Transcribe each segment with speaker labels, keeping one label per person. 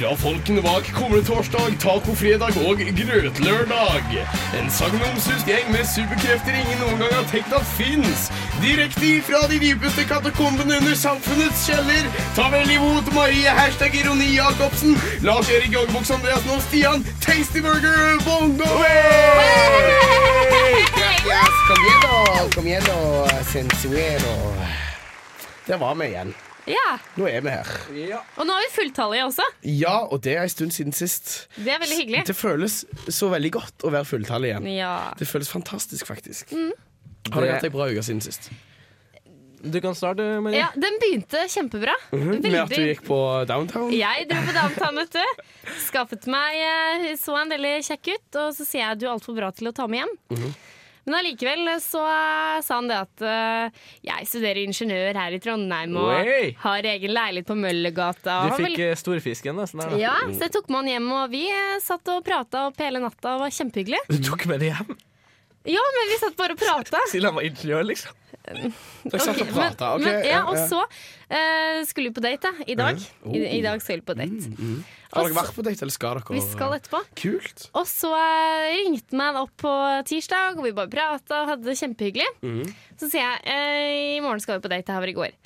Speaker 1: Fra folkene bak kumletorsdag, tacofredag og grøtlørdag. En sagnomsust gjeng med superkrefter ingen noen gang har tenkt at fins. Direkte ifra de dypeste katakombene under samfunnets kjeller. Ta vel imot Marie hashtag Ironi Jacobsen, Lars Erik Jogboks Andreassen og Stian Tasty Burger Bongo! Yes, kom igjen, da. Kom igjen, da. Sensuero. Det var vi igjen.
Speaker 2: Ja,
Speaker 1: Nå er vi her.
Speaker 2: Og nå er vi fulltallige også.
Speaker 1: Ja, og det er en stund siden sist.
Speaker 2: Det er veldig hyggelig.
Speaker 1: Det føles så veldig godt å være fulltallig igjen.
Speaker 2: Ja. Mm.
Speaker 1: Det føles fantastisk, faktisk. Har du hatt ei bra uke siden sist?
Speaker 3: Du kan starte, Marie.
Speaker 2: ja, Den begynte kjempebra.
Speaker 1: Med at du gikk på downtown?
Speaker 2: Jeg dro på downtown, vet du. Skaffet meg eh, Så en veldig kjekk ut, og så sier jeg du er altfor bra til å ta med hjem. Men allikevel så eh, sa han det at eh, jeg studerer ingeniør her i Trondheim og
Speaker 3: Oi!
Speaker 2: har egen leilighet på Møllergata. og
Speaker 3: Du
Speaker 2: han vil-
Speaker 3: fikk eh, storfisken, nesten. Der, da.
Speaker 2: ja, så jeg tok med han hjem, og vi eh, satt og prata opp hele natta og var kjempehyggelig.
Speaker 3: Du tok med det hjem?
Speaker 2: Ja, men vi satt bare og prata.
Speaker 3: Siden han var ingeniør, liksom?
Speaker 1: Dere satt
Speaker 2: Ok,
Speaker 1: og prata. ok,
Speaker 2: men, men, ja,
Speaker 1: ja, Mm.
Speaker 2: og
Speaker 1: ja.
Speaker 2: så eh, skulle vi på date da, i dag. I, I dag skal vi på date.
Speaker 1: Mm, Har
Speaker 2: og
Speaker 1: dere
Speaker 2: så-
Speaker 1: vært på date, eller skal dere?
Speaker 2: Vi skal etterpå.
Speaker 1: Kult.
Speaker 2: Og så eh, ringte han meg da opp på tirsdag, og vi bare prata og hadde det kjempehyggelig.
Speaker 1: Mm.
Speaker 2: Så sier jeg eh, i morgen skal vi på date, det her var i går.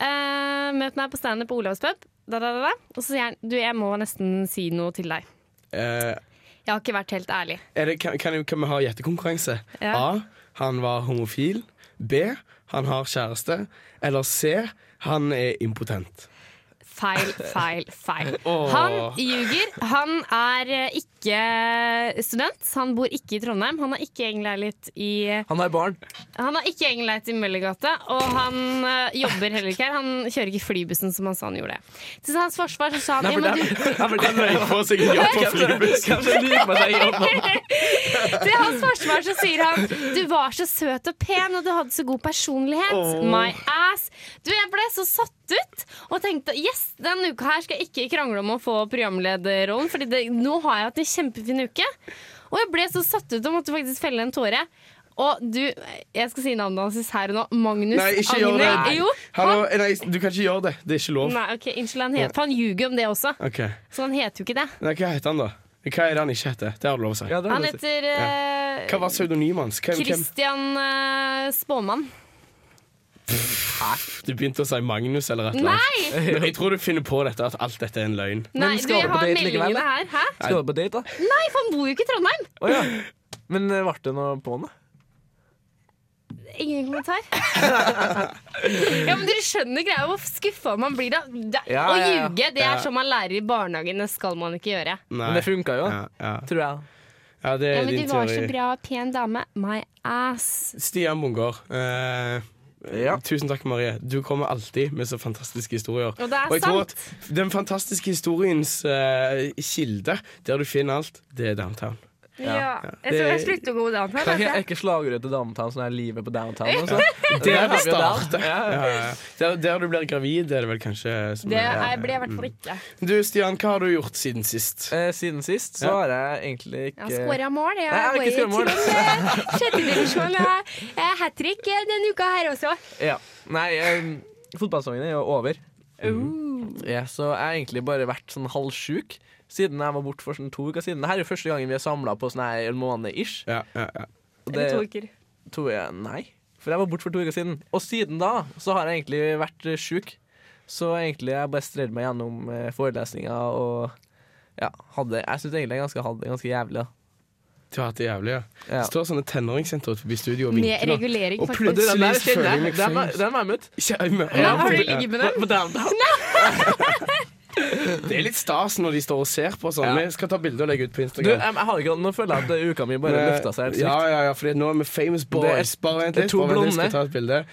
Speaker 2: Eh, møt meg på standup på Olavs pub. Da, da, da, da. Og så sier han du, jeg må nesten si noe til deg.
Speaker 1: Eh,
Speaker 2: Jeg har ikke vært helt ærlig.
Speaker 1: er det, kan, kan, kan vi ha gjettekonkurranse?
Speaker 2: Ja.
Speaker 1: A. Han var homofil. B. Han har kjæreste. Eller C. Han er impotent.
Speaker 2: Feil, feil, feil.
Speaker 1: Åh.
Speaker 2: Han ljuger. Han er eh, ikke eh, student. Han bor ikke i Trondheim. Han har ikke egen leilighet i
Speaker 3: Han har barn.
Speaker 2: Han har ikke egen leilighet i Møllergata, og han eh, jobber heller ikke her. Han kjører ikke flybussen som han sa han gjorde. Til hans forsvar så sa han
Speaker 3: Nei,
Speaker 2: «Ja,
Speaker 3: for
Speaker 2: men
Speaker 3: det,
Speaker 2: du,
Speaker 3: Nei, for det.
Speaker 1: Jeg får sikkert ja på flybuss.
Speaker 3: Kanskje han liker meg seg jobb nå.
Speaker 2: Til hans forsvar så sier han Du var så søt og pen, og du hadde så god personlighet. My ass. Du, jeg ble så satt ut og tenkte yes, denne uka her skal jeg ikke krangle om å få programlederrollen, Fordi det, nå har jeg hatt en kjempefin uke. Og jeg ble så satt ut og måtte faktisk felle en tåre. Og du, jeg skal si navnet hans her og nå. Magnus
Speaker 1: Nei, ikke gjør
Speaker 2: Agner.
Speaker 1: det.
Speaker 2: Jo,
Speaker 1: Hallo, nei, du kan ikke gjøre det. Det er ikke lov.
Speaker 2: Nei, ok, unnskyld, han heter, for han ljuger om det også.
Speaker 1: Ok.
Speaker 2: Så han heter jo ikke det.
Speaker 1: Nei, hva heter han, da? Hva er det han ikke heter? Det har du lov å si.
Speaker 3: Ja, det er
Speaker 2: Han
Speaker 3: det å si.
Speaker 2: heter eh,
Speaker 1: Hva var pseudonymet hans? Hvem, hvem?
Speaker 2: Christian eh, Spåmann.
Speaker 1: Du begynte å si Magnus eller et eller annet.
Speaker 2: Nei!
Speaker 1: Men jeg tror du finner på dette at alt dette er en løgn.
Speaker 2: Nei,
Speaker 3: Men
Speaker 2: du,
Speaker 3: skal
Speaker 2: jeg
Speaker 3: dere på
Speaker 2: har
Speaker 3: date likevel,
Speaker 2: meldingene
Speaker 3: da?
Speaker 2: her. Hæ?
Speaker 3: Skal du på date, da?
Speaker 2: Nei, for han bor jo ikke i Trondheim!
Speaker 3: Å ja. Men eh, ble det noe på han, da?
Speaker 2: Ingen kommentar. ja, men Dere skjønner greia hvor skuffa man blir da. Det,
Speaker 3: Ja,
Speaker 2: å
Speaker 3: ja, ja.
Speaker 2: ljuge det
Speaker 1: Ja.
Speaker 2: er som man lærer i barnehagen. Det skal man ikke gjøre.
Speaker 1: Nei.
Speaker 3: Men det funka jo, da.
Speaker 1: Ja, ja.
Speaker 3: Tror jeg.
Speaker 1: ja, det er
Speaker 2: Ja, men
Speaker 1: din
Speaker 2: Du var så
Speaker 1: teori.
Speaker 2: bra og pen dame. My ass.
Speaker 1: Stian Bungård. eh,
Speaker 3: Ja.
Speaker 1: Tusen takk, Marie. Du kommer alltid med så fantastiske historier.
Speaker 2: Og det er
Speaker 1: jeg tror at den fantastiske historiens eh, kilde, der du finner alt, det er downtown.
Speaker 2: Ja.
Speaker 1: Det- tror jeg
Speaker 2: slutter å gå down
Speaker 3: Kan ikke, er ikke slagordet til Downtown sånn her 'Livet på Downtown'? Og så?
Speaker 1: Det er
Speaker 3: har
Speaker 1: det
Speaker 3: vi jo der.
Speaker 1: starter.
Speaker 3: Ja, ja.
Speaker 1: Ja, ja, ja. Der, der du blir gravid, er det vel kanskje som
Speaker 2: Det
Speaker 1: er-
Speaker 2: er- blir jeg i hvert fall ikke.
Speaker 1: Du, Stian, hva har du gjort siden sist?
Speaker 3: Eh, Siden sist så
Speaker 1: Ja.
Speaker 3: har jeg egentlig
Speaker 2: Jeg
Speaker 3: ikke
Speaker 2: har skåra mål. Jeg
Speaker 3: Nei, jeg har
Speaker 2: går
Speaker 3: ikke
Speaker 2: til
Speaker 3: skåret mål.
Speaker 2: eh, sjette divisjon. Jeg- Jeg er hat trick denne uka her også.
Speaker 3: Ja. Nei, em, fotballsesongen er jo over.
Speaker 2: Uh.
Speaker 3: Ja, så jeg har egentlig bare vært sånn halvsjuk siden jeg var borte for sånn to uker siden. Dette er jo første gangen vi er samla på sånn her en måned ish.
Speaker 1: Ja, ja, ja.
Speaker 3: Og
Speaker 2: Eller
Speaker 3: det-
Speaker 2: to uker.
Speaker 3: to- ja, Nei, for jeg var borte for to uker siden. Og siden da så har jeg egentlig vært eh, sjuk. Så egentlig jeg bare strevd meg gjennom eh, forelesninger og ja, hadde Jeg syns egentlig jeg ganske hadde det ganske jævlig, da.
Speaker 1: Du har hatt det jævlig, ja.
Speaker 3: Ja.
Speaker 1: Det står sånne tenåringsjenter utenfor studio og
Speaker 2: Med
Speaker 1: vinker. nå.
Speaker 2: regulering,
Speaker 1: Og
Speaker 2: faktisk.
Speaker 3: Og det, den der
Speaker 1: plutselig
Speaker 3: kjenner
Speaker 1: føler jeg
Speaker 3: jeg.
Speaker 1: meg
Speaker 3: Den var-
Speaker 1: famous.
Speaker 3: Den var jeg møtt.
Speaker 1: Kjære-
Speaker 2: Nei, har du
Speaker 1: Ja.
Speaker 2: ligget med dem?
Speaker 3: På Downtown.
Speaker 1: Det er litt stas når de står og ser på sånn.
Speaker 3: Ja.
Speaker 1: Vi skal ta bilde og legge ut på
Speaker 3: Du,
Speaker 1: Instagram.
Speaker 3: jeg, jeg har ikke, nå føler jeg at uka mi bare
Speaker 1: Eh,
Speaker 3: løfta seg helt sykt.
Speaker 1: ja, ja, ja, fordi nå er vi famous
Speaker 3: Det
Speaker 1: boys.
Speaker 3: er-
Speaker 1: Bare vent
Speaker 3: det er
Speaker 1: litt.
Speaker 3: to
Speaker 1: bare vent litt,
Speaker 3: blonde.
Speaker 1: Jeg skal ta et bilde.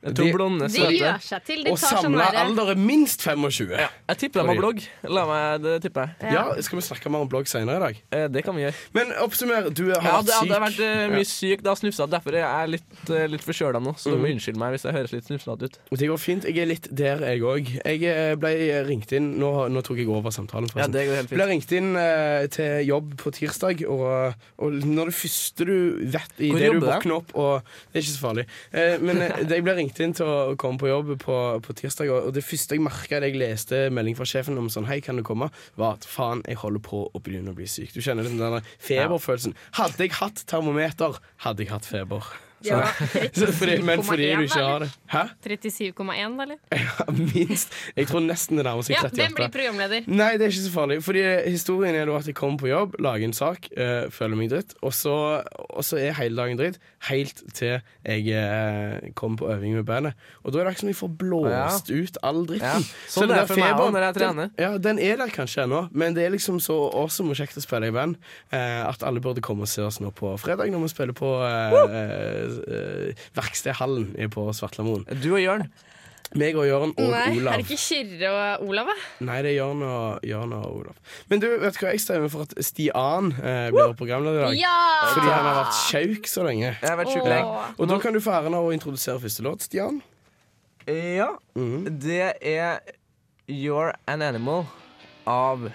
Speaker 3: To
Speaker 1: De-
Speaker 3: blonde
Speaker 2: De
Speaker 3: svarte.
Speaker 2: gjør seg til. De
Speaker 1: Og
Speaker 2: tar sånn
Speaker 1: samla
Speaker 2: derre-
Speaker 1: alder er minst 25. Ja.
Speaker 3: Jeg tipper de har blogg. La meg, det tipper jeg.
Speaker 1: Skal vi snakke mer om blogg senere i dag?
Speaker 3: Eh, Det kan vi gjøre.
Speaker 1: Men oppsummer. Du har
Speaker 3: Jeg
Speaker 1: vært
Speaker 3: hadde,
Speaker 1: syk.
Speaker 3: hadde vært eh, mye syk da snufsa, derfor er jeg litt, eh, litt forkjøla nå. Så du
Speaker 1: Mm.
Speaker 3: må unnskylde meg hvis jeg høres litt snufsete ut.
Speaker 1: Og Det går fint. Jeg er litt der, jeg òg. Jeg eh, ble ringt inn Nå, nå tok jeg over samtalen. forresten.
Speaker 3: det går helt
Speaker 1: Ble ringt inn eh, til jobb på tirsdag, og, og når det første du vet i
Speaker 3: Hvor
Speaker 1: det du
Speaker 3: jobber du?
Speaker 1: våkner opp og Det er ikke så farlig. Eh, men eh, jeg ble ringt LinkedIn til å komme på jobb på, på tirsdag, og og det første jeg merka da jeg leste melding fra sjefen om sånn Hei, kan du komme? var at faen, jeg holder på å begynne å bli syk. Du kjenner den der feberfølelsen. Hadde jeg hatt termometer, hadde jeg hatt feber. Så,
Speaker 2: Ja.
Speaker 1: så fordi, men fordi du
Speaker 2: 37,1
Speaker 1: ikke har det. Hæ?
Speaker 2: 37,1, da, eller?
Speaker 1: Ja, minst. Jeg tror nesten det nærmer seg
Speaker 2: Ja,
Speaker 1: 38.
Speaker 2: hvem blir programleder?
Speaker 1: Nei, det er ikke så farlig. Fordi historien er da at jeg kommer på jobb, lager en sak, eh, føler meg dritt, og så, og så er hele dagen dritt helt til jeg eh, kommer på øving med bandet. Og da er det akkurat som jeg får blåst ut all
Speaker 3: Ja.
Speaker 1: dritten.
Speaker 3: Sånn
Speaker 1: den
Speaker 3: er det
Speaker 1: der
Speaker 3: for meg
Speaker 1: feberen,
Speaker 3: også når jeg trener.
Speaker 1: Den, ja, den er der kanskje ennå, men det er liksom så awesome og kjekt å spille i band eh, at alle burde komme og se oss nå på fredag når vi spiller på eh, eh, Verkstedhallen på Svartlamoen.
Speaker 3: Du og Jørn.
Speaker 1: Meg og Jørn og
Speaker 2: Nei, er
Speaker 1: Olav.
Speaker 2: det ikke Kyrre og Olav, da?
Speaker 1: Nei, det er Jørn og, Jørn og Olav. Men du, vet du hva? Jeg stemmer for at Stian eh, blir programleder i dag. Fordi han har vært sjauk så lenge.
Speaker 3: Jeg har vært sjuk
Speaker 2: Åh.
Speaker 3: lenge.
Speaker 1: Og da kan du få æren av å introdusere første låt, Stian.
Speaker 3: Ja,
Speaker 1: Mm.
Speaker 3: det er You're an Animal av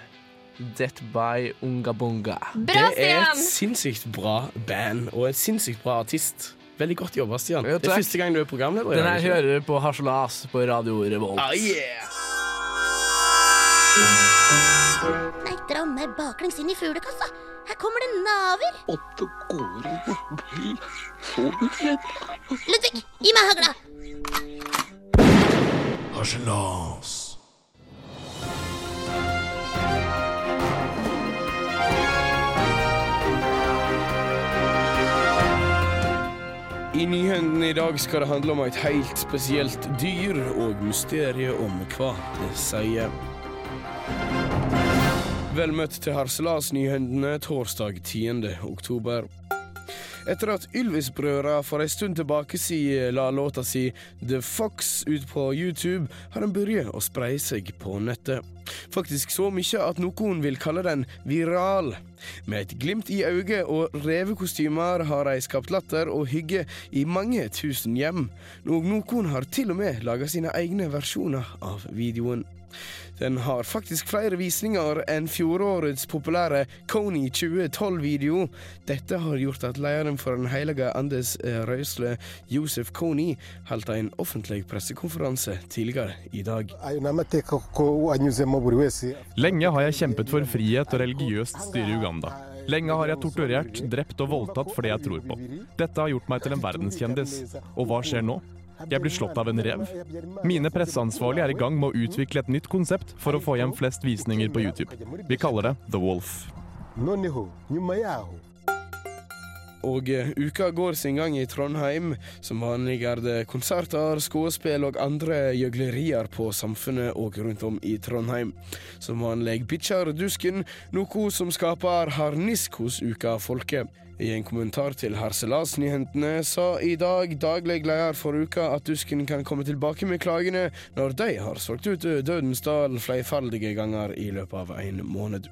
Speaker 3: Death by Ungabunga.
Speaker 2: Bra,
Speaker 1: det er et
Speaker 2: Stian!
Speaker 1: sinnssykt bra band og et sinnssykt bra artist. Veldig godt jobba, Stian.
Speaker 3: Jo,
Speaker 1: det er
Speaker 3: takk.
Speaker 1: første gang du er programleder. i
Speaker 3: Den
Speaker 1: dag, ikke
Speaker 3: her
Speaker 1: det?
Speaker 3: hører du på Harselas på Radio Revolt.
Speaker 1: Ah, yeah.
Speaker 4: Nei, dra meg baklengs inn i fuglekassa. Her kommer det naver.
Speaker 5: åtte gårder på bil. Så du det?
Speaker 4: Ludvig, gi meg hagla.
Speaker 1: I nyhendene i dag skal det handle om et helt spesielt dyr og mysteriet om hva det sier. Vel møtt til Harselas-nyhendene torsdag 10. oktober. Etter at Ylvis-brødra for en stund tilbake si la låta si The Fox ut på YouTube, har den begynt å spreie seg på nettet. Faktisk så mye at noen vil kalle den viral. Med et glimt i øyet og revekostymer har de skapt latter og hygge i mange tusen hjem. Og noen har til og med laga sine egne versjoner av videoen. Den har faktisk flere visninger enn fjorårets populære Kony 2012-video. Dette har gjort at lederen for Den hellige andes eh, røysle, Josef Kony, holdt en offentlig pressekonferanse tidligere i dag.
Speaker 6: Ainamateka ko anyuzemo buri wese
Speaker 7: Lenge har jeg kjempet for frihet og religiøst styre i Uganda. Lenge har jeg torturert, drept og voldtatt for det jeg tror på. Dette har gjort meg til en verdenskjendis. Og hva skjer nå? Jeg blir slått av en rev. Mine presseansvarlige er i gang med å utvikle et nytt konsept for å få hjem flest visninger på YouTube. Vi kaller det The Wolf.
Speaker 6: noneho nyuma yaho
Speaker 1: Og eh, uka går sin gang i Trondheim. Som vanlig er det konserter, skuespill og andre gjøglerier på samfunnet og rundt om i Trondheim. Som vanlig bikkjer dusken, noe som skaper harnisk hos uka-folket. I en kommentar til Harselas-nyhendene sa i dag daglig leder for uka at dusken kan komme tilbake med klagene når de har solgt ut Dødens dal flerfoldige ganger i løpet av en måned.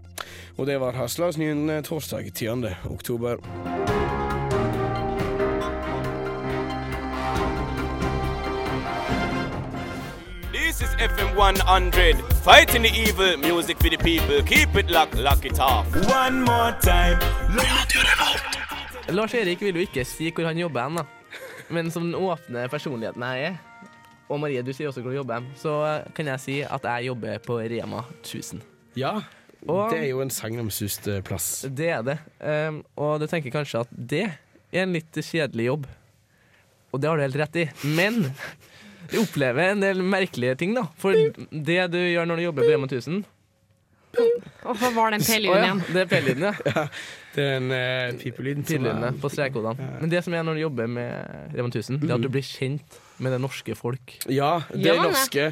Speaker 1: Og det var Harselas-nyhendene torsdag 10. oktober.
Speaker 8: This is FM 100, fighting the evil, music for the people. Keep it locked, lock it off. One more time.
Speaker 3: Lars Erik vil jo ikke si hvor han jobber hen, da. Men som den åpne personligheten jeg er, og Marie, du sier også hvor du jobber hen, så eh, kan jeg si at jeg jobber på Rema 1000.
Speaker 1: Ja,
Speaker 3: Og-
Speaker 1: det er jo en sagnomsust eh, plass.
Speaker 3: Det er det. Ehm, og du tenker kanskje at det er en litt kjedelig jobb. Og det har du helt rett i. Men du opplever en del merkelige ting, da. For det du gjør når du jobber på Rema 1000
Speaker 2: Og hva var den
Speaker 3: Å
Speaker 2: P-lyden
Speaker 3: ja,
Speaker 2: igjen?
Speaker 3: det er P-lyden, ja.
Speaker 1: Det er en uh, pipelyden som
Speaker 3: Tidligere
Speaker 1: er
Speaker 3: på strekkodene. Men det som er når du jobber med Rema 1000, det er at du blir kjent med det norske folk.
Speaker 1: Ja, det er
Speaker 2: Ja, men-
Speaker 1: norske.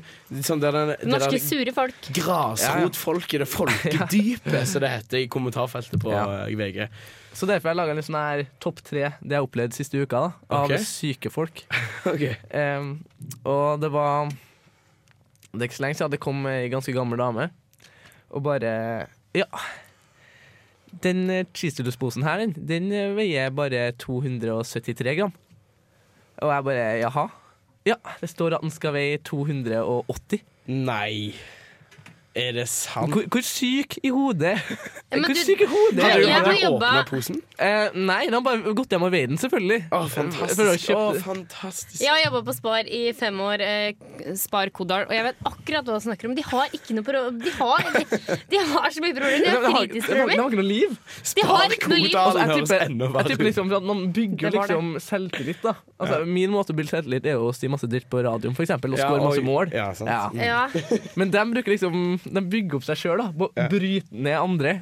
Speaker 1: Sånn, det er den, det
Speaker 2: Norske
Speaker 1: er
Speaker 2: sure folk.
Speaker 1: grasrotfolket, det folkedypet, som det heter i kommentarfeltet på
Speaker 3: Ja.
Speaker 1: eh, VG.
Speaker 3: Så derfor har jeg laga en litt sånn her topp tre det jeg har opplevd siste uka, da, av
Speaker 1: Ok.
Speaker 3: syke folk.
Speaker 1: Ok.
Speaker 3: Em, og det var Det er ikke så lenge siden det kom ei ganske gammel dame og bare Ja. Den eh, cheesedoodles-posen her, den, den eh, veier bare 273 gram. Og jeg bare jaha? Ja, det står at den skal veie 280.
Speaker 1: Nei. Er det sant?
Speaker 3: Hvor, hvor syk i hodet
Speaker 2: Men
Speaker 3: Hvor
Speaker 2: du-
Speaker 3: syk i hodet
Speaker 2: Har
Speaker 1: Har
Speaker 3: er
Speaker 1: du,
Speaker 2: Jeg
Speaker 3: du?
Speaker 1: har
Speaker 2: har
Speaker 1: du
Speaker 2: jobba-
Speaker 1: åpnet posen?
Speaker 3: Eh, nei, han har bare gått hjem og veid den, selvfølgelig.
Speaker 1: Å,
Speaker 3: For å
Speaker 1: fantastisk. Å,
Speaker 3: kjøpe-
Speaker 1: fantastisk.
Speaker 2: Jeg har jobba på Spar i fem år, eh, Spar Kodal, og jeg vet akkurat hva du snakker om. De har ikke noe pro de, har, de, de har så mye problemer. De
Speaker 3: Men det
Speaker 2: har
Speaker 3: har- det
Speaker 2: fritidsproblemer.
Speaker 3: har ikke noe liv.
Speaker 2: De har ikke noe liv.
Speaker 1: Kodal.
Speaker 3: Altså,
Speaker 1: sånn høres
Speaker 3: jeg
Speaker 1: enda
Speaker 3: tipper,
Speaker 1: verre
Speaker 3: jeg tipper liksom at man bygger
Speaker 2: Det var det.
Speaker 3: liksom selvtillit. da altså, Min måte å bygge selvtillit er jo å si masse dritt på radioen, for eksempel, og
Speaker 1: Ja,
Speaker 3: score masse
Speaker 1: og-
Speaker 3: mål.
Speaker 1: ja, sant.
Speaker 2: Ja.
Speaker 3: Men de, bruker liksom, de bygger opp seg sjøl, bryter ned andre.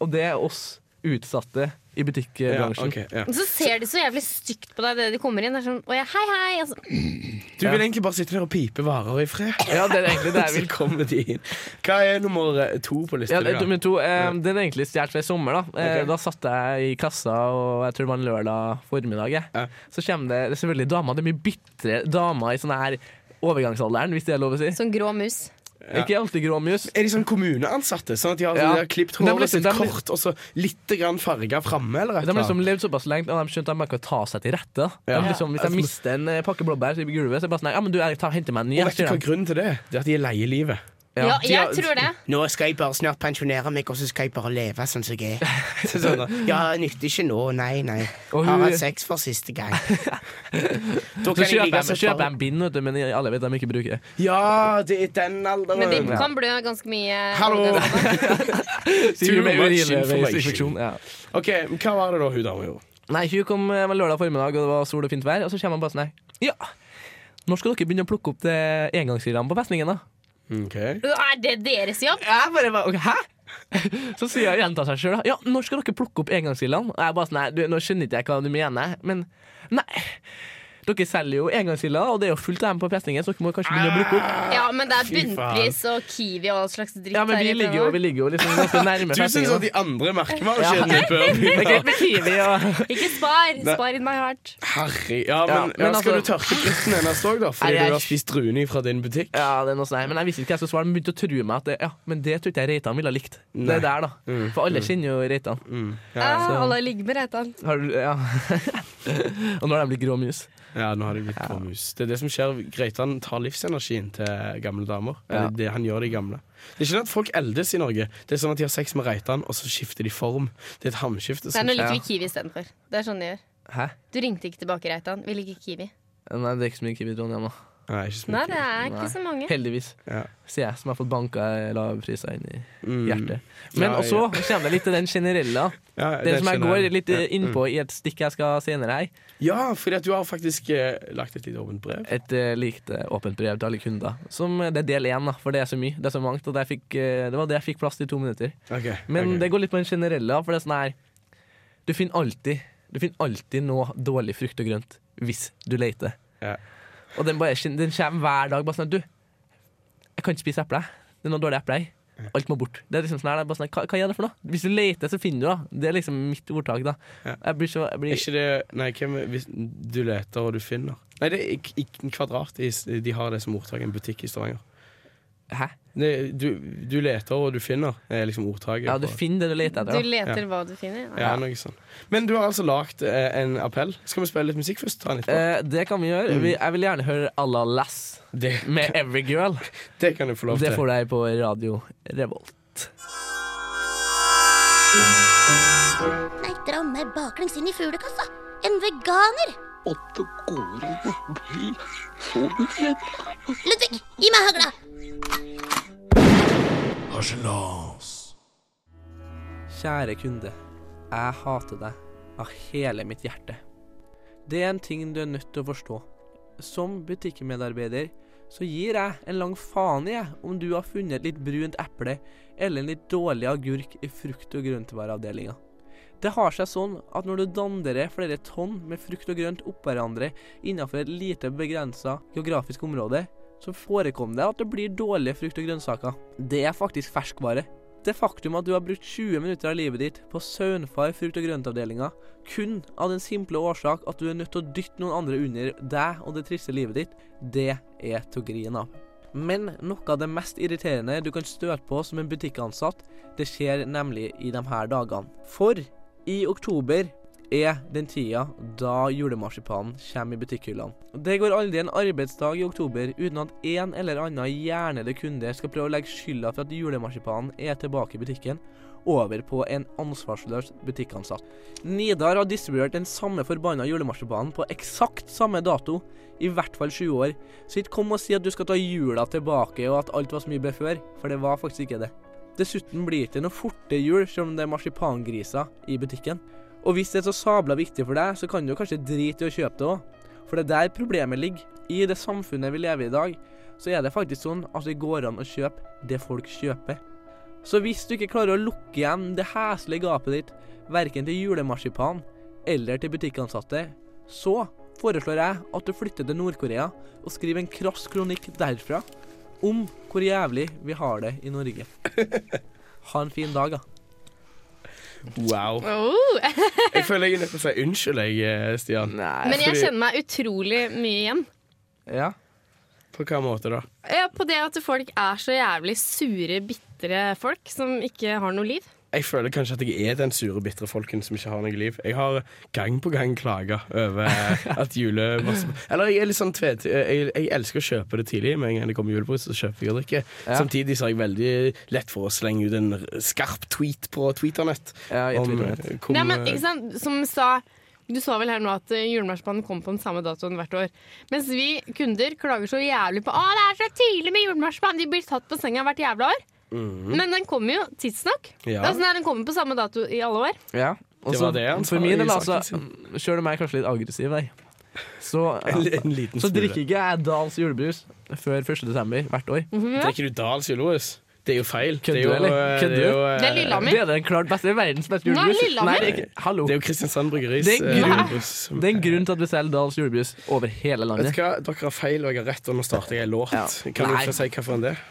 Speaker 3: Og det er oss utsatte i
Speaker 1: Ja,
Speaker 3: butikkbransjen.
Speaker 1: ok, ja.
Speaker 2: Så ser de så jævlig stygt på deg idet de kommer inn. Det er sånn, «Å ja, hei, hei. og så-
Speaker 1: Du vil egentlig bare sitte der og pipe varer i fred.
Speaker 3: Ja, det er egentlig det jeg
Speaker 1: Så
Speaker 3: vil.
Speaker 1: kommer de inn. Hva er nummer eh, to på lista?
Speaker 3: Ja,
Speaker 1: di, da?
Speaker 3: nummer to, eh, den er egentlig stjålet fra i sommer. Da Eh,
Speaker 1: Ok.
Speaker 3: Da satt jeg i kassa, og jeg tror det var en lørdag formiddag. jeg.
Speaker 1: Ja.
Speaker 3: Så kommer det, det er selvfølgelig damer. Det er mye bitre damer i sånne her overgangsalderen, hvis det er lov å si.
Speaker 2: Sånn grå mus.
Speaker 3: Ikke alltid gråmus.
Speaker 1: Er de sånn kommuneansatte? Sånn at de har
Speaker 3: Ja.
Speaker 1: ja. klippet
Speaker 3: Men de
Speaker 1: håret
Speaker 3: liksom-
Speaker 1: sitt
Speaker 3: de-
Speaker 1: kort og så litt grann farga framme? Eller et
Speaker 3: De har
Speaker 1: eller
Speaker 3: liksom
Speaker 1: annet?
Speaker 3: levd såpass lenge og de skjønte at man kan ta seg til rette. da. De
Speaker 1: Ja. Altså-
Speaker 3: liksom, hvis jeg mister en eh, pakke blåbær i gulvet, så er det bare sånn Ja, men du, jeg tar, henter meg en ny.
Speaker 1: Og vet du
Speaker 3: sier
Speaker 1: hva
Speaker 3: de.
Speaker 1: grunnen til det? Det er at de er lei i livet.
Speaker 3: Ja,
Speaker 2: Ja,
Speaker 1: de har-
Speaker 2: jeg tror det.
Speaker 9: Nå skal jeg bare snart pensjonere meg, og så skal jeg bare leve sånn som jeg er.
Speaker 1: Sånn, da.
Speaker 9: Ja, nytter ikke nå, nei, nei.
Speaker 3: Og
Speaker 9: Har
Speaker 3: hun-
Speaker 9: hatt sex for siste gang.
Speaker 1: Da
Speaker 3: Så
Speaker 1: kan jeg
Speaker 3: kjøper
Speaker 1: ligge
Speaker 3: jeg, så
Speaker 1: med
Speaker 3: kjøper jeg
Speaker 1: par-
Speaker 3: en bind, vet du, men alle vet de ikke bruker det.
Speaker 1: Ja, det er den alderen.
Speaker 2: Men de kan blø ganske mye.
Speaker 1: Hallo. Too
Speaker 3: Sier med
Speaker 1: much
Speaker 3: urinveisinfeksjon,
Speaker 1: information.
Speaker 3: ja.
Speaker 1: Ok, men Hva var det da hun dama gjorde?
Speaker 3: Nei, hun kom eh, med lørdag formiddag, og det var sol og fint vær, og så kommer han bare sånn her Ja, når skal dere begynne å plukke opp det engangsgreiene på festningen, da?
Speaker 1: Okay.
Speaker 2: Er det deres jobb?
Speaker 3: Jeg bare, bare ok, Hæ? Så sier jeg gjenta seg sjøl, da. Ja, når skal dere plukke opp engangsildene? Og jeg bare sånn, nei, du, nå skjønner ikke jeg hva du mener, men nei. Dere selger jo engangsilder, og det er jo fullt av dem på festningen, så dere må kanskje begynne å plukke opp.
Speaker 2: Ja, men det er
Speaker 1: Fy faen.
Speaker 2: bunnpris og Kiwi og all slags dritt.
Speaker 3: Ja, men
Speaker 2: her
Speaker 3: vi
Speaker 2: i
Speaker 3: ligger jo,
Speaker 2: Trondheim.
Speaker 3: vi ligger jo liksom ganske nærme
Speaker 1: Du syns at
Speaker 3: festningen.
Speaker 1: de andre merkevarekjedene bør
Speaker 3: Det er
Speaker 1: begynne?
Speaker 3: greit med Kiwi og
Speaker 2: Ikke spar! Spar in my heart.
Speaker 1: Harry. Ja, men, ja,
Speaker 3: Ja, men
Speaker 1: Skal
Speaker 3: altså-
Speaker 1: du tørke dritten hennes òg, da? Fordi
Speaker 3: Nei, jeg-
Speaker 1: du har spist druene fra din butikk?
Speaker 3: Ja, det er noe sånn her. Men jeg visste ikke hva jeg skulle svare. Men begynte å true meg at det, ja, men det tror ikke jeg Reitan ville ha likt. Det
Speaker 1: Nei.
Speaker 3: er der, da. For alle kjenner jo Reitan.
Speaker 2: Ah, alle ligger med Reitan.
Speaker 3: Har du, ja. Og nå har de blitt grå mus.
Speaker 1: Ja, nå har de blitt gråmus. Det er det som skjer. Greitan tar livsenergien til gamle damer.
Speaker 3: Ja.
Speaker 1: Eller det han gjør de gamle. Det er ikke sånn at folk eldes i Norge. Det er sånn at de har sex med Reitan, og så skifter de form. Det er et hamskifte.
Speaker 2: Nei,
Speaker 1: som
Speaker 2: nå liker
Speaker 1: skjer.
Speaker 2: vi Kiwi istedenfor. Det er sånn de gjør.
Speaker 3: Hæ?
Speaker 2: Du ringte ikke tilbake, Reitan. Vi liker Kiwi.
Speaker 3: Nei, det er ikke så mye Kiwi i Trondheim, da.
Speaker 1: Nei, ikke så mye.
Speaker 2: Nei, det er ikke
Speaker 3: Nei.
Speaker 2: så mange.
Speaker 3: Heldigvis.
Speaker 1: Ja.
Speaker 3: Sier jeg, som har fått banka lave priser inn i
Speaker 1: Mm.
Speaker 3: hjertet. Men
Speaker 1: Ja,
Speaker 3: også kommer det litt til den generelle. da.
Speaker 1: Ja,
Speaker 3: Det som jeg går
Speaker 1: skjønner
Speaker 3: litt eh, innpå
Speaker 1: Mm.
Speaker 3: i et stikk jeg skal ha senere her.
Speaker 1: Ja, fordi at du har faktisk eh, lagt et lite åpent brev.
Speaker 3: Et eh, likt eh, åpent brev til alle kunder. Som, eh, det er del én, da, for det er så mye. Det er så mangt. Og det, jeg fikk, eh, det var det jeg fikk plass til i to minutter. Men det går litt på den generelle, da, for det er sånn her Du finner alltid Du finner alltid noe dårlig frukt og grønt hvis du leter.
Speaker 1: Ja.
Speaker 3: Og den, bare, den kommer hver dag bare sånn at Du, jeg kan ikke spise eple. Det er noe dårlig eple her. Alt må bort. Det er liksom sånn her, det er bare sånn, her, hva, hva er det for noe? Hvis du leter, så finner du det. Det er liksom mitt ordtak, da.
Speaker 1: Ja.
Speaker 3: Jeg blir så jeg
Speaker 1: Er
Speaker 3: blir,
Speaker 1: ikke det Nei, hvem er- hvis du leter og du finner Nei, det er ikke- ikke kvadrat. i s- De har det som ordtak i en butikk i Stavanger.
Speaker 3: Hæ?
Speaker 1: Det, du, du leter og du finner, er liksom ordtaket.
Speaker 3: Ja, du
Speaker 1: på-
Speaker 3: finner det du leter
Speaker 2: Du
Speaker 3: etter. Da.
Speaker 2: leter hva du finner.
Speaker 1: Ja, noe sånn. Men du har altså lagd eh, en appell. Skal vi spille litt musikk først? Ta den etterpå.
Speaker 3: Eh, det kan vi gjøre. Vi, jeg vil gjerne høre à la Lass
Speaker 1: Mm. det,
Speaker 3: med Every Girl.
Speaker 1: det kan du få lov
Speaker 3: Det
Speaker 1: til.
Speaker 3: får deg på Radio Revolt.
Speaker 4: Nei, dra meg baklengs inn i fuglekassa. En veganer!
Speaker 5: Åtte gode blir så redd.
Speaker 4: Ludvig, gi meg hagla!
Speaker 3: Kjære kunde, jeg hater deg av hele mitt hjerte. Det er en ting du er nødt til å forstå. Som butikkmedarbeider så gir jeg en lang faen i jeg, om du har funnet et litt brunt eple eller en litt dårlig agurk i frukt- og grøntvareavdelinga. Det har seg sånn at når du danderer flere tonn med frukt og grønt oppå hverandre innenfor et lite begrensa geografisk område, så forekommer det at det blir dårlige frukt- og grønnsaker. Det er faktisk ferskvare. Det faktum at du har brukt 20 minutter av livet ditt på søvnfar frukt- og grøntavdelinga, kun av den simple årsak at du er nødt til å dytte noen andre under deg og det triste livet ditt, det er til å grine av. Men noe av det mest irriterende du kan støte på som en butikkansatt, det skjer nemlig i de her dagene. For i oktober er den tida da julemarsipanen kommer i butikkhyllene. Det går aldri en arbeidsdag i oktober uten at en eller annen hjernede kunde skal prøve å legge skylda for at julemarsipanen er tilbake i butikken, over på en ansvarsløs butikkansatt. Nidar har distribuert den samme forbanna julemarsipanen på eksakt samme dato, i hvert fall sju år, så ikke kom og si at du skal ta jula tilbake og at alt var så mye bedre før, for det var faktisk ikke det. Dessuten blir det ikke noe fortere jul selv om det er marsipangriser i butikken. Og hvis det er så sabla viktig for deg, så kan du jo kanskje drite i å kjøpe det òg. For det er der problemet ligger. I det samfunnet vi lever i i dag, så er det faktisk sånn at det går an å kjøpe det folk kjøper. Så hvis du ikke klarer å lukke igjen det heslige gapet ditt, verken til julemarsipan eller til butikkansatte, så foreslår jeg at du flytter til Nord-Korea og skriver en krass kronikk derfra om hvor jævlig vi har det i Norge. Ha en fin dag, da.
Speaker 1: Wow.
Speaker 2: Oh.
Speaker 1: Jeg føler jeg er nødt til å si unnskyld, jeg, eh, Stian.
Speaker 2: Men jeg
Speaker 1: fordi-
Speaker 2: kjenner meg utrolig mye igjen.
Speaker 3: Ja.
Speaker 1: På hvilken måte da?
Speaker 2: Ja, På det at folk er så jævlig sure, bitre folk som ikke har noe liv.
Speaker 1: Jeg føler kanskje at jeg er den sure, bitre folken som ikke har noe liv. Jeg har gang på gang klaga over eh, at jule... Eller jeg er litt sånn tvet... Jeg, jeg elsker å kjøpe det tidlig. Med en gang det kommer julepose, så kjøper jeg og drikker.
Speaker 3: Ja.
Speaker 1: Samtidig så er jeg veldig lett for å slenge ut en skarp tweet på Twitternett.
Speaker 3: Ja, jeg
Speaker 1: om,
Speaker 3: tror det.
Speaker 1: eh, kom,
Speaker 2: Nei, men
Speaker 1: eh,
Speaker 2: ikke sant, som sa Du sa vel her nå at eh, julemarsipanen kom på den samme datoen hvert år. Mens vi kunder klager så jævlig på Å, det er så tidlig med julemarsipan! De blir tatt på senga hvert jævla år. Men den kommer jo tidsnok.
Speaker 1: Mhm. Ja.
Speaker 2: Det er sånn her, den kommer på samme dato i alle år.
Speaker 3: Ja. Og
Speaker 1: Det
Speaker 3: så-
Speaker 1: var det han
Speaker 3: for
Speaker 1: sa
Speaker 3: min
Speaker 1: i
Speaker 3: del,
Speaker 1: saken
Speaker 3: altså, selv om jeg er kanskje litt aggressiv, jeg, så,
Speaker 1: en, en liten
Speaker 3: så drikker
Speaker 1: smule.
Speaker 3: ikke jeg Dals julebrus før 1. desember hvert år.
Speaker 1: Drikker du Dahls julebrus? Det er jo feil.
Speaker 3: Kødder
Speaker 1: det er jo,
Speaker 3: du, eller?
Speaker 1: eh,
Speaker 3: Kødder
Speaker 1: det er
Speaker 3: du?
Speaker 1: jo, eh,
Speaker 2: Det er Lillehammer.
Speaker 3: Det er den klart beste, verdens beste
Speaker 2: Nei,
Speaker 3: julebrus.
Speaker 2: Lillehammer.
Speaker 3: Nei, det er ikke- hallo.
Speaker 1: Det er jo Kristiansand Bryggeris
Speaker 3: Det er
Speaker 1: eh,
Speaker 3: grunn-
Speaker 1: julebrus.
Speaker 3: Det er en grunn til at vi selger Dals julebrus over hele
Speaker 1: Vet du
Speaker 3: landet.
Speaker 1: hva, Dere har feil, og jeg har rett. Og nå starter jeg en låt.
Speaker 3: Ja.
Speaker 1: Kan du
Speaker 3: Nei.
Speaker 1: ikke si hva for en det er?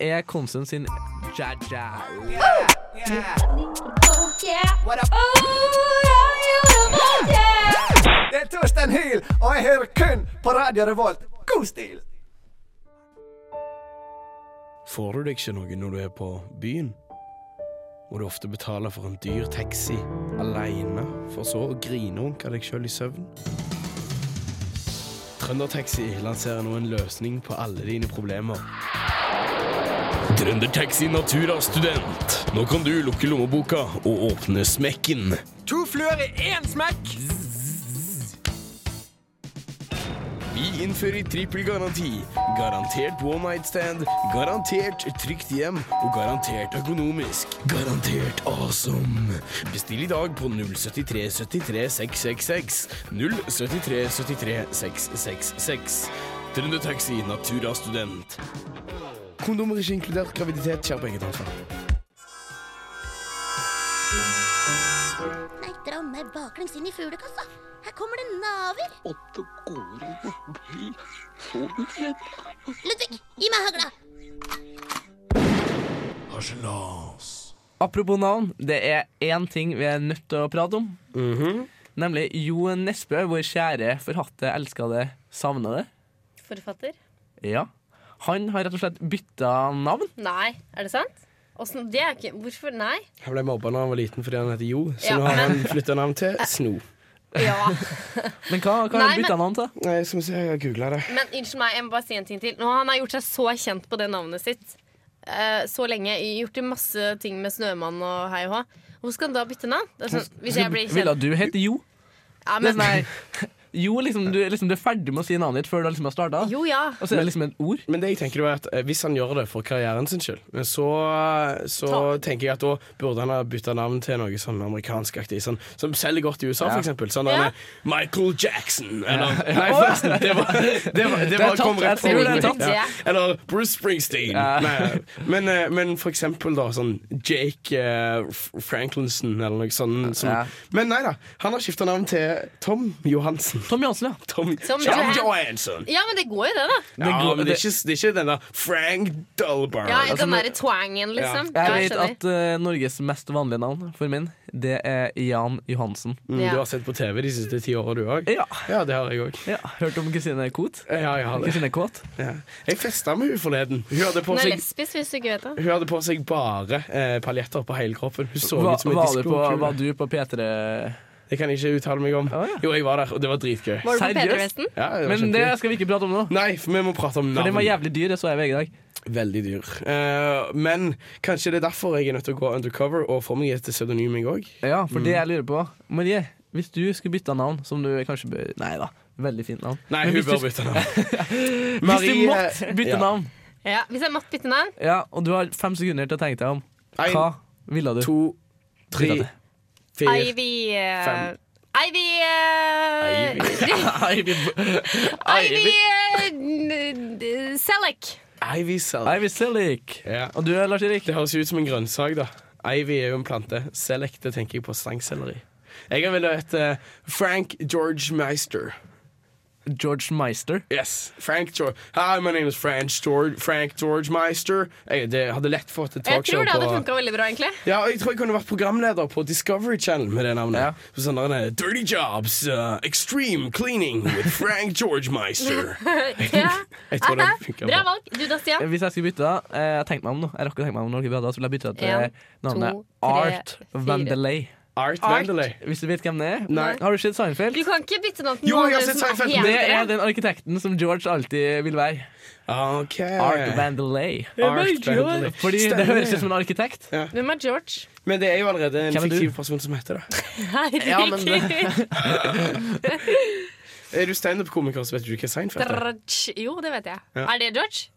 Speaker 3: Det er Konsen sin Jaja.
Speaker 10: Det er Torstein Hyl, og jeg hører kun på Radio Revolt. God stil!
Speaker 1: Får du deg ikke noe når du er på byen? Må du ofte betale for en dyr taxi aleine, for så å grinunke deg sjøl i søvn? Trøndertaxi lanserer nå en løsning på alle dine problemer. Trøndertaxi Natura Student. Nå kan du lukke lommeboka og åpne smekken.
Speaker 10: To fluer i én smekk!
Speaker 1: Vi innfører trippelgaranti. Garantert one night stand, garantert trygt hjem og garantert økonomisk. Garantert awesome. Bestill i dag på 073 73 666. 073 73 666. Trønder Taxi Natura Student. Kondomer ikke inkludert graviditet. Skjerp eget ansvar.
Speaker 4: Nei, dra meg baklengs inn i fuglekassa. Her kommer det naver.
Speaker 5: Åtte gode blir så redd.
Speaker 4: Ludvig, gi meg hagla.
Speaker 3: Apropos navn, det er én ting vi er nødt til å prate om.
Speaker 1: Mhm.
Speaker 3: Nemlig Jo Nesbø, vår kjære, forhatte, elskede, savnede.
Speaker 2: Forfatter?
Speaker 3: Ja. Han har rett og slett bytta navn.
Speaker 2: Nei. Er det sant? det er ikke Hvorfor? Nei.
Speaker 1: Han ble mobba da han var liten fordi han heter Jo, så
Speaker 2: Ja,
Speaker 1: nå har han
Speaker 2: men-
Speaker 1: flytta navn til Sno.
Speaker 2: Ja.
Speaker 3: Men hva, hva har
Speaker 2: Nei,
Speaker 3: han bytta navn til?
Speaker 1: Nei, eh, skal vi se, jeg har googla det.
Speaker 2: Men unnskyld meg, jeg må bare si en ting til. Nå har han har gjort seg så kjent på det navnet sitt eh, så lenge. Gjort det masse ting med Snømann og hei og hå. Hvor skal han da bytte navn? Det er sånn, hvis jeg blir
Speaker 3: Ville
Speaker 2: kjent
Speaker 3: du hete Jo?
Speaker 2: ja,
Speaker 3: Men,
Speaker 2: men,
Speaker 3: nei. Jo, liksom du, liksom du er ferdig med å si navnet ditt før du liksom har starta.
Speaker 2: Jo ja.
Speaker 3: Og så er det liksom et ord.
Speaker 1: Men det jeg tenker er at eh, hvis han gjør det for karrieren sin skyld, eh, så, så
Speaker 2: Ta-
Speaker 1: tenker jeg at da burde han ha bytta navn til noe sånn amerikanskaktig, sånn, som selger godt i USA,
Speaker 3: Ja.
Speaker 1: for eksempel. Sånn
Speaker 2: Ja.
Speaker 1: denne Michael Jackson, eller Nei, forresten, det var Det, var, det,
Speaker 3: er
Speaker 1: var,
Speaker 3: tatt,
Speaker 1: kom
Speaker 3: jeg
Speaker 1: rett fra
Speaker 3: tror det er
Speaker 1: hodet mitt.
Speaker 2: tatt.
Speaker 1: Ja. Eller Bruce Springsteen.
Speaker 3: Ja.
Speaker 1: Nei, men, eh, men for eksempel da sånn Jake eh, F- Franklinson, eller noe sånt. Som,
Speaker 3: Ja.
Speaker 1: Men nei da, han har skifta navn til Tom Johansen.
Speaker 3: Tom Johansen, ja.
Speaker 1: Tom,
Speaker 2: Tom
Speaker 1: Tom
Speaker 2: Johan-
Speaker 1: Johansen.
Speaker 2: ja, men det går jo det, da.
Speaker 1: Ja, men det er, ikke, det er ikke den der Frank Dolbar.
Speaker 2: Ja,
Speaker 1: Altså,
Speaker 2: den derre twangen, liksom. Ja, jeg
Speaker 3: Jeg vet
Speaker 2: skjønner.
Speaker 3: at eh, Norges mest vanlige navn for min, det er Jan Johansen.
Speaker 1: mm,
Speaker 2: ja.
Speaker 1: Du har sett på TV de siste ti åra, du òg?
Speaker 3: Ja.
Speaker 1: Ja, det har jeg òg.
Speaker 3: ja. Hørt om Kristine Koht?
Speaker 1: Ja, jeg har det.
Speaker 3: Kristine Kåt?
Speaker 1: Ja. Jeg festa med hun forleden. Hun hadde på
Speaker 2: Hun er
Speaker 1: seg,
Speaker 2: lesbisk, hvis du ikke vet det.
Speaker 1: hun hadde på seg bare eh, paljetter på hele kroppen. Hun så
Speaker 3: Var,
Speaker 1: ut som en
Speaker 3: var, du på-
Speaker 1: diskokule.
Speaker 3: var du på P3
Speaker 1: Det kan jeg ikke uttale meg om. Jo, jeg var der, og det var dritgøy.
Speaker 2: Var du på Pederesten?
Speaker 1: Ja, det var
Speaker 3: Men det
Speaker 1: kjempegøy.
Speaker 3: skal vi ikke prate om nå.
Speaker 1: Nei, for vi må prate om navn.
Speaker 3: For den var jævlig dyr, det så jeg ved i dag.
Speaker 1: Veldig dyr. Eh, men kanskje det er derfor jeg er nødt til å gå undercover og få meg et pseudonym, jeg òg.
Speaker 3: Ja, for det jeg lurer på Marie, hvis du skulle bytte navn, som du kanskje bør Nei da, veldig fint navn.
Speaker 1: Nei,
Speaker 3: Men
Speaker 1: hun
Speaker 3: hvis du
Speaker 1: bør bytte navn.
Speaker 3: Hvis du
Speaker 1: Marie-
Speaker 3: måtte bytte
Speaker 1: Ja.
Speaker 3: navn,
Speaker 2: Ja, hvis jeg måtte bytte navn?
Speaker 3: ja, og du har fem sekunder til å tenke deg om,
Speaker 1: En,
Speaker 3: hva ville du?
Speaker 1: To, tre, fire
Speaker 2: Ivy eh,
Speaker 3: Fem.
Speaker 2: Ivy eh,
Speaker 1: Ivy
Speaker 2: Ivy eh, n- d- Selleck.
Speaker 1: Ivy Selleck.
Speaker 3: Og du, Lars Erik?
Speaker 1: Det høres jo ut som en grønnsak, da. Ivy er jo en plante. Selleck, det tenker jeg på stangselleri. Jeg ville hett eh, Frank George Meister.
Speaker 3: George Meister?
Speaker 1: Yes. Frank George Hi, my name is Frank George, Frank George Meister. Jeg det hadde lett fått et
Speaker 2: Jeg
Speaker 1: talkshow
Speaker 2: tror det hadde
Speaker 1: på
Speaker 2: funka veldig bra, egentlig.
Speaker 1: Ja, og jeg tror jeg kunne vært programleder på Discovery Channel med det navnet. På sånn der, eh, Dirty Jobs, eh, Extreme Cleaning with Frank George Meister.
Speaker 2: ja.
Speaker 3: Jeg tror det
Speaker 2: Aha,
Speaker 3: funker
Speaker 2: Bra
Speaker 3: bra.
Speaker 2: valg. Du da, Stian?
Speaker 3: Hvis jeg skulle bytte, da, eh, jeg tenkte meg om nå. Jeg rakk å tenke meg om når vi hadde, så ville jeg bytte til
Speaker 2: En,
Speaker 3: navnet
Speaker 2: to, tre,
Speaker 3: Art
Speaker 2: fire.
Speaker 3: Vandelay.
Speaker 1: Art
Speaker 3: Vandelay. Hvis du vet hvem det er?
Speaker 2: Nei.
Speaker 3: Har du sett Seinfeld?
Speaker 2: Du kan ikke bytte navn til
Speaker 3: Jo,
Speaker 2: noen
Speaker 3: jeg har
Speaker 2: andre
Speaker 3: sett
Speaker 2: som
Speaker 3: Seinfeld.
Speaker 2: heter
Speaker 3: Det er
Speaker 2: det.
Speaker 3: den arkitekten som George alltid vil være. Art Vandelay.
Speaker 1: Art Vandelay.
Speaker 3: Fordi
Speaker 1: Stemmer
Speaker 3: det høres
Speaker 1: det.
Speaker 3: ut som en arkitekt.
Speaker 2: Hvem er George?
Speaker 1: Men det er jo allerede en
Speaker 3: Hvem er du?
Speaker 1: fiktiv person som heter det.
Speaker 3: Ja, men det-
Speaker 1: Er du standup-komiker, så vet du ikke hva Seinfeld er.
Speaker 2: George. Jo, det vet jeg.
Speaker 1: Ja.
Speaker 2: Er det George?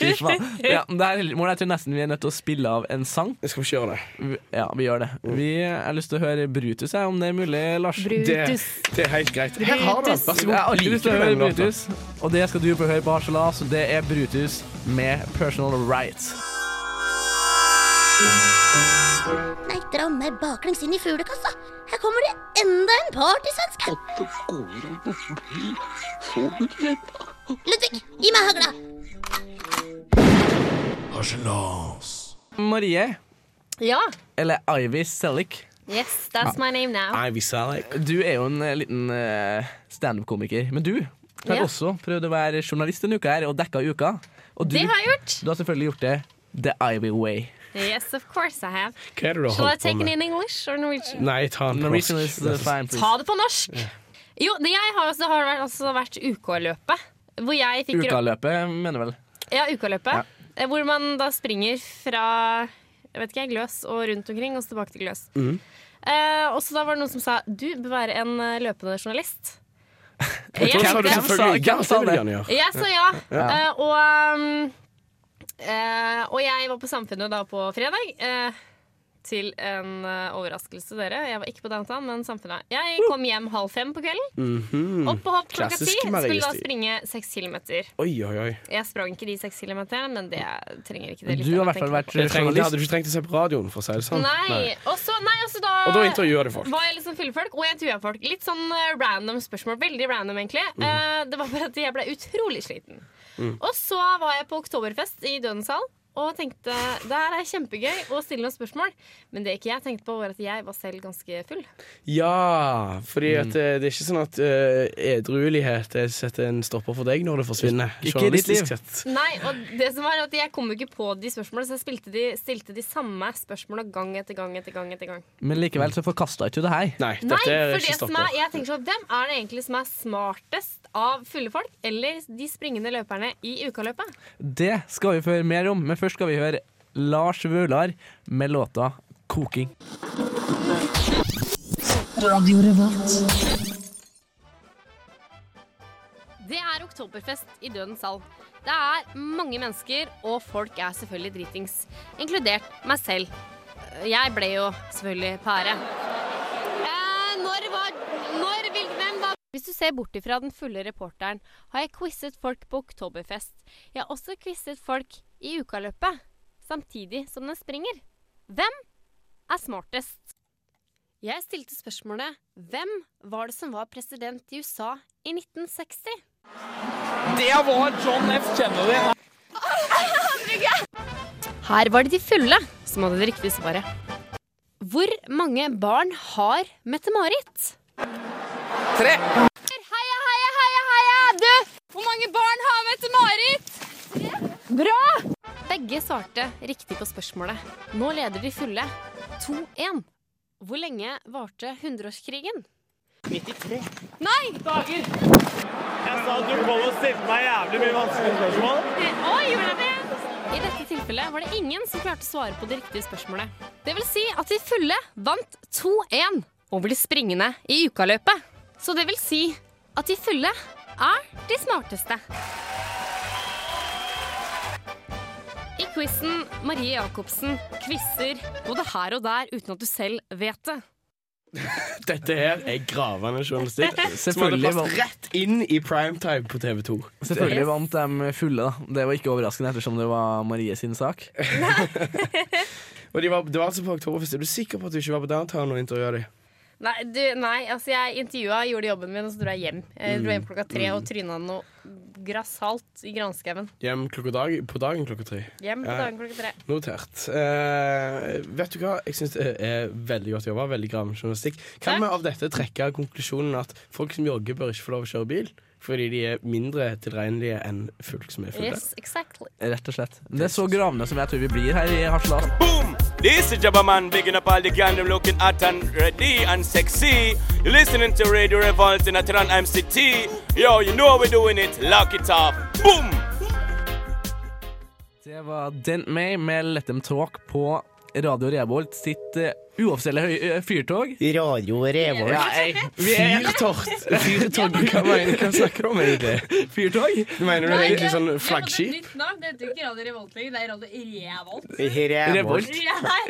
Speaker 3: Fy faen. Ja, men det er heller- Mona, jeg tror nesten vi er nødt til å spille av en sang.
Speaker 1: Skal vi ikke gjøre
Speaker 3: det? Ja, vi gjør det. Vi, jeg har lyst til å høre Brutus, jeg, om det er mulig, Lars.
Speaker 1: Brutus. Det er helt greit. Her har du den. Vær så god.
Speaker 3: Jeg har alltid lyst til å
Speaker 1: Liker den
Speaker 3: høre
Speaker 1: låta.
Speaker 3: Brutus, og det skal du få høre på Harselas. og Det er Brutus med Personal Rights.
Speaker 4: Nei, dra meg baklengs inn i fuglekassa. Her kommer det enda en partysvensk her. Ludvig, gi meg hagla.
Speaker 3: Harselas. Marie,
Speaker 2: Ja.
Speaker 3: eller Ivy Sellik.
Speaker 2: Yes, that's
Speaker 1: Ah.
Speaker 2: my name now.
Speaker 1: Ivy Selleck.
Speaker 3: Du er jo en eh, liten eh, standup-komiker, men du har
Speaker 2: Ja.
Speaker 3: også prøvd å være journalist denne uka her og dekka uka. Og du,
Speaker 2: Det har jeg gjort.
Speaker 3: Du har selvfølgelig gjort det the Ivy way.
Speaker 2: Yes, of course I have.
Speaker 1: Hva er det du har
Speaker 2: Shall I
Speaker 1: holdt på
Speaker 2: take it
Speaker 1: med?
Speaker 2: in English or Norwegian?
Speaker 1: Nei, ta den på
Speaker 3: Norwegian
Speaker 1: norsk.
Speaker 3: is, uh, fine, please.
Speaker 2: Ta det på norsk! Jo, det jeg har også, har vært, altså vært UK-løpet. Hvor jeg fikk
Speaker 3: Ukaløpet, mener du vel.
Speaker 2: Ja, UK-løpet. Eh, Hvor man da springer fra jeg vet ikke, Gløs og rundt omkring, og så tilbake til Gløs.
Speaker 1: Mm.
Speaker 2: Eh, og så da var det noen som sa du bør være en eh, løpende journalist.
Speaker 1: Jeg tror
Speaker 2: Jeg
Speaker 1: sa du
Speaker 2: tenkte-
Speaker 1: selvfølgelig
Speaker 3: Hvem sa- hvem sa
Speaker 1: det vil jeg gjerne gjøre.
Speaker 2: Jeg sa ja.
Speaker 1: Ja.
Speaker 2: Eh, og, um, eh, og jeg var på Samfunnet da på fredag. eh, til en eh, overraskelse, dere. Jeg var ikke på downtown, men Samfunnet. Jeg kom hjem halv fem på kvelden.
Speaker 1: Mhm.
Speaker 2: Opp og hopp klokka ti.
Speaker 1: Klassisk
Speaker 2: Skulle da
Speaker 1: Marie-stil.
Speaker 2: springe seks kilometer.
Speaker 1: Oi, oi, oi.
Speaker 2: Jeg sprang ikke de seks kilometerne, men det trenger ikke det.
Speaker 1: Du
Speaker 2: lytterne
Speaker 1: har i hvert fall
Speaker 2: tenker
Speaker 1: vært
Speaker 2: på.
Speaker 1: journalist. Det hadde du ikke trengt å se på radioen, for å si det sånn.
Speaker 2: Nei. Og så, nei, og så da,
Speaker 1: Og da intervjuer du folk.
Speaker 2: Var jeg liksom fyllefolk, og jeg intervjua folk. Litt sånn eh, random spørsmål. Veldig random, egentlig.
Speaker 1: Mm.
Speaker 2: Eh, det var bare at jeg ble utrolig sliten.
Speaker 11: Mm.
Speaker 2: Og så var jeg på oktoberfest i Dødens hall og tenkte det her er kjempegøy å stille noen spørsmål. Men det ikke jeg tenkte på, var at jeg var selv ganske full.
Speaker 1: Ja, fordi at
Speaker 3: Mhm.
Speaker 1: eh, det er ikke sånn at eh, edruelighet eh, setter en stopper for deg når det forsvinner.
Speaker 3: Ikke i ditt liv.
Speaker 1: journalistisk sett.
Speaker 2: Nei, og det som var at jeg kom jo ikke på de spørsmålene, så jeg spilte de, stilte de samme spørsmåla gang etter gang etter gang. etter gang
Speaker 3: Men likevel så forkasta ikke du det her.
Speaker 1: Nei,
Speaker 2: Nei, for det som er, jeg tenker sånn, Hvem er det egentlig som er smartest av fulle folk, eller de springende løperne i ukaløpet?
Speaker 3: Det skal vi få høre mer om, men først skal vi høre Lars Vaular med låta 'Koking'.
Speaker 12: Radio Revolt.
Speaker 2: Det er oktoberfest i Dødens hall. Det er mange mennesker, og folk er selvfølgelig dritings. Inkludert meg selv. Jeg ble jo selvfølgelig pære. Eh, når var Når vil hvem da? Hvis du ser bort ifra den fulle reporteren, har jeg quizet folk på Oktoberfest. Jeg har også quizet folk i ukaløpet, samtidig som den springer. Hvem er smartest? Jeg stilte spørsmålet Hvem var det som var president i USA i 1960?
Speaker 12: Det var John F. Kennedy.
Speaker 2: Her var det de fulle som hadde det riktige svaret. Hvor mange barn har Mette-Marit?
Speaker 12: Tre.
Speaker 2: Heia, heia, heia, heia! Du, hvor mange barn har Mette-Marit? Bra! Begge svarte riktig på spørsmålet. Nå leder de fulle 2-1. Hvor lenge varte hundreårskrigen?
Speaker 13: 93.
Speaker 2: Nei! Dager!
Speaker 13: Jeg sa at du kom og stilte meg jævlig mye vanskelige spørsmål.
Speaker 2: Oi, gjorde jeg det? I dette tilfellet var det ingen som klarte å svare på det riktige spørsmålet. Det vil si at de fulle vant 2-1 over de springende i ukaløpet. Så det vil si at de fulle er de smarteste. I quizen Marie Jacobsen quizer både her og der uten at du selv vet det.
Speaker 1: Dette her er gravende journalistikk. Som hadde
Speaker 3: Selvfølgelig
Speaker 1: passet rett inn i primetime på TV 2.
Speaker 3: Selvfølgelig vant de fulle, da. Det var ikke overraskende ettersom det var Marie sin sak.
Speaker 1: Og de var, det var altså på Oktoberfest. Er du sikker på at du ikke var på Downtown og intervjua dem?
Speaker 2: Nei, du, nei altså jeg intervjua, gjorde jobben min, og så dro jeg hjem. Jeg dro hjem klokka tre og tryna noe grassalt i granskauen.
Speaker 1: Hjem klokka dag, på dagen klokka tre.
Speaker 2: Hjem på
Speaker 1: Ja.
Speaker 2: dagen klokka tre.
Speaker 1: Notert. Eh, vet du hva? Jeg syns det er veldig godt jobba. Veldig gravende journalistikk. Kan vi av dette trekke konklusjonen at folk som jogger, bør ikke få lov å kjøre bil? Fordi de er mindre tilregnelige enn folk som er fulle.
Speaker 2: Yes, exactly.
Speaker 3: Rett og slett. Det er så gravende som jeg tror vi blir her i Harselas.
Speaker 7: This is Jabba Man bigging up all the gang them looking hot and ready and sexy. You're listening to Radio Revolt in Atran MCT. Yo, you know how we're doing it. Lock it up. Boom!
Speaker 3: Det var Dent May med Let Them Talk på Radio Revolt sitt eh, uoffisielle høy- eh, fyrtog.
Speaker 14: Radio Revolt.
Speaker 3: Ja, jeg- vi er-
Speaker 1: Fyrtort! Fyrtog, hva, mener, hva snakker du om egentlig?
Speaker 3: Fyrtog?
Speaker 1: Mener du egentlig sånn flaggskip?
Speaker 2: nytt navn. Det heter ikke Radio Revolt lenger, det er Radio Revolt.
Speaker 1: Revolt.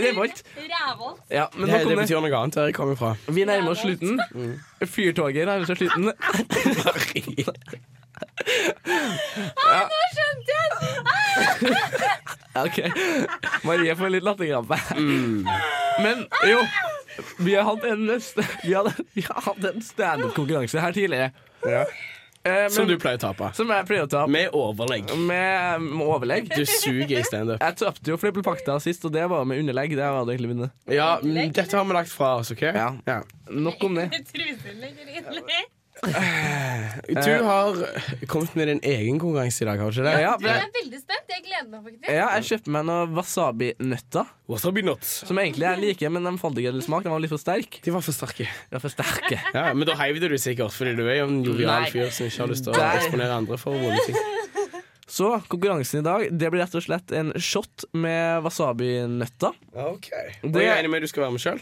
Speaker 3: Revolt.
Speaker 2: Revolt.
Speaker 3: Ja, men
Speaker 1: det, Mm.
Speaker 3: nå
Speaker 1: det
Speaker 3: kommer
Speaker 1: betyr noe annet der jeg kommer fra.
Speaker 3: Vi nærmer oss slutten. Fyrtoget nærmer seg slutten.
Speaker 2: Ah, nå skjønte jeg! Ah!
Speaker 3: Ja, OK. Marie får litt latterkrampe.
Speaker 1: Mm.
Speaker 3: Men jo, vi har hatt en, st- vi hadde, vi har hatt en standup-konkurranse her tidligere. Eh, men-
Speaker 1: Som du pleier å tape.
Speaker 3: Som jeg pleier å tape.
Speaker 1: Med overlegg.
Speaker 3: Med, med overlegg.
Speaker 1: Du suger i standup.
Speaker 3: Jeg tapte jo Flippelpakta sist, og det var med underlegg. Det hadde jeg egentlig vunnet.
Speaker 1: Ja, men dette har vi lagt fra oss, OK? Ja.
Speaker 3: Nok om det.
Speaker 1: Du har kommet med din egen konkurranse i dag, har du ikke det?
Speaker 3: Ja,
Speaker 2: Jeg er veldig spent. Jeg gleder meg faktisk.
Speaker 3: Ja, jeg kjøpte meg noen wasabi-nøtter.
Speaker 1: Wasabi
Speaker 3: Som egentlig jeg liker, men de fant ikke helt smak. De var litt for sterke.
Speaker 1: De var for sterke.
Speaker 3: De var for sterke.
Speaker 1: Ja, men da heiv du det sikkert, fordi du er jo en jovial
Speaker 3: Nei.
Speaker 1: fyr som ikke har lyst til å
Speaker 3: Der.
Speaker 1: eksponere andre for vonde ting.
Speaker 3: Så konkurransen i dag Det blir rett og slett en shot med wasabi-nøtter.
Speaker 1: OK.
Speaker 3: Det-
Speaker 1: Og jeg regner med du skal være med sjøl?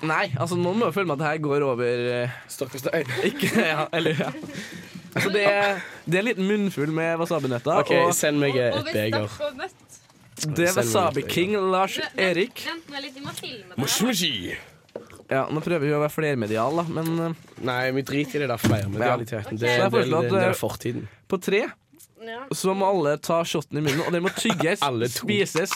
Speaker 3: Nei, altså noen må jo føle med at det her går over eh,
Speaker 1: Stokk og stein.
Speaker 3: Ikke, ja, eller ja. Så det, er- det er en liten munnfull med wasabi-nøtter.
Speaker 1: OK, send meg
Speaker 2: Og
Speaker 1: et
Speaker 2: vi
Speaker 1: beger.
Speaker 2: stakk og nøtt.
Speaker 3: Og det er Wasabi King Lars
Speaker 2: Vent, vent,
Speaker 3: Erik.
Speaker 2: Vent nå litt, vi må filme det.
Speaker 3: Ja, Nå prøver vi å være flermedial, da, men eh,
Speaker 1: Nei, vi driter i det der flermedialiteten.
Speaker 3: Ja.
Speaker 1: Det,
Speaker 3: Så jeg
Speaker 1: det,
Speaker 3: foreslår
Speaker 1: det,
Speaker 3: at,
Speaker 1: det
Speaker 3: eh,
Speaker 1: er fortiden.
Speaker 3: På tre så må alle ta shoten i munnen, og det må tygges, spises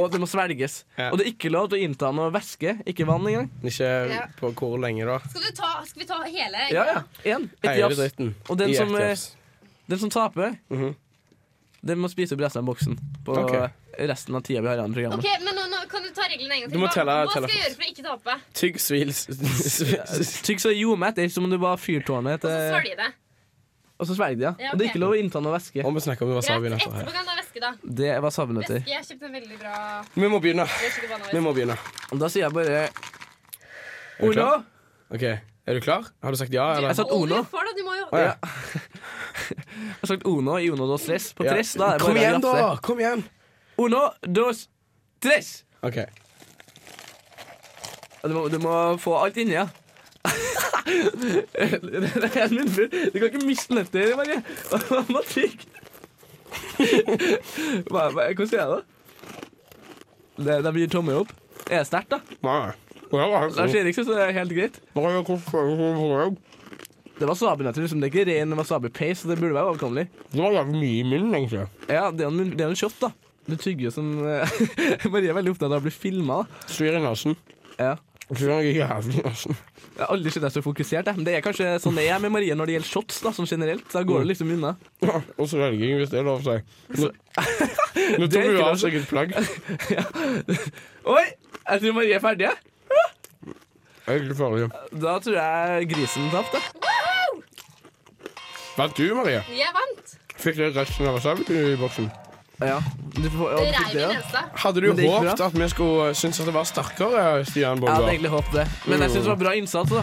Speaker 3: og det må svelges. Og det er ikke lov til å innta noe væske, ikke vann engang.
Speaker 1: Ikke
Speaker 2: Ja.
Speaker 1: på hvor lenge, da.
Speaker 2: Skal, du ta, skal vi ta hele?
Speaker 3: Ja, ja. En, et
Speaker 1: Hele
Speaker 3: jafs.
Speaker 1: dritten.
Speaker 3: Og den
Speaker 1: I
Speaker 3: som,
Speaker 1: ett
Speaker 3: eh,
Speaker 1: jafs. Mhm.
Speaker 3: den som taper, den må spise opp resten av boksen på
Speaker 1: Ok.
Speaker 3: resten av tida vi har igjen i programmet.
Speaker 2: Ok, men nå, nå kan du ta reglene en gang til.
Speaker 3: Du må
Speaker 2: Hva-
Speaker 3: telle-
Speaker 2: Hva
Speaker 3: telle
Speaker 2: skal jeg gjøre for å ikke tape?
Speaker 1: Tygg svil s-
Speaker 3: Tygg så jomett, det er som om du bare fyrtårnet etter
Speaker 2: Svelge det.
Speaker 3: eh, Og så svelg det, ja.
Speaker 2: Ja,
Speaker 3: Og det
Speaker 2: ok.
Speaker 3: er ikke lov å innta noe væske.
Speaker 1: Om vi snakker om
Speaker 2: Greit. Etterpå kan du ha væske, da.
Speaker 3: Det er wasabinøtter.
Speaker 2: Væske. Jeg kjøpte en veldig bra
Speaker 1: Vi må begynne.
Speaker 2: Vi må
Speaker 1: begynne.
Speaker 3: Da sier jeg bare
Speaker 1: Er du
Speaker 3: Ola?
Speaker 1: klar? OK, er du klar? Har du sagt ja, eller?
Speaker 3: Jeg sa Ono.
Speaker 2: Du får det, du må jo
Speaker 1: Å, ja.
Speaker 3: Jeg har sagt Ono i Ono dos tres. På
Speaker 1: Ja.
Speaker 3: tres, da er det
Speaker 1: Kom
Speaker 3: bare
Speaker 1: igjen,
Speaker 3: å
Speaker 1: da!
Speaker 3: grafse.
Speaker 1: Kom igjen!
Speaker 3: Ono dos tres!
Speaker 1: OK.
Speaker 3: Ja, Du må, du må få alt inni, ja. det er en munnfull. Du kan ikke miste nøtter, Marie. Hva tygg? Hva, hva, hvordan sier jeg det? det? Det blir tommel opp. Er det sterkt, da? Lars Erik syns det er helt greit. Det var sabinøtter, liksom. Det er ikke ren wasabi-paste, så det burde være overkommelig.
Speaker 1: Det var jævlig mye i munnen, egentlig.
Speaker 3: Ja, det er en, det er en shot, da. Du tygger jo som eh, Marie er veldig opptatt av å bli filma.
Speaker 1: Svir i nesen.
Speaker 3: Ja.
Speaker 1: Svir jævlig i nesen.
Speaker 3: Jeg har aldri sett deg så fokusert. Jeg. Men det er kanskje sånn det er med Marie når det gjelder shots. da, som generelt. Da går det liksom unna.
Speaker 1: Og svelging, hvis det er lov å si. Nå, nå tok du
Speaker 3: Det er ikke
Speaker 1: av
Speaker 3: lov.
Speaker 1: seg et plagg.
Speaker 3: Oi! Jeg tror Marie er ferdig. jeg.
Speaker 1: Jeg er ikke ferdig.
Speaker 3: Da tror jeg grisen tapte.
Speaker 1: Vent du, Marie.
Speaker 2: Jeg vant.
Speaker 1: Fikk du resten av wasabi i boksen?
Speaker 3: Ja. Du får,
Speaker 2: Det
Speaker 3: ja, du fikk
Speaker 2: reiv i nesa.
Speaker 1: Hadde du
Speaker 3: Men det gikk bra.
Speaker 1: håpet at vi skulle eh, synes at det var sterkere, eh, Stian
Speaker 3: Jeg hadde
Speaker 1: Bolgar?
Speaker 3: egentlig håpet det, men jeg synes det var bra innsats. da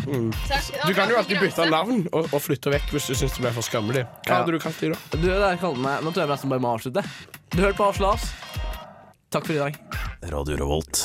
Speaker 1: Du kan jo alltid bytte navn og, og flytte vekk hvis du synes det ble for skammelig. Hva hadde du kalt det da?
Speaker 3: Du, det der kaller meg Nå tror jeg nesten bare må avslutte. Du hørte på Avslas. Takk for i dag.
Speaker 7: Radio Revolt.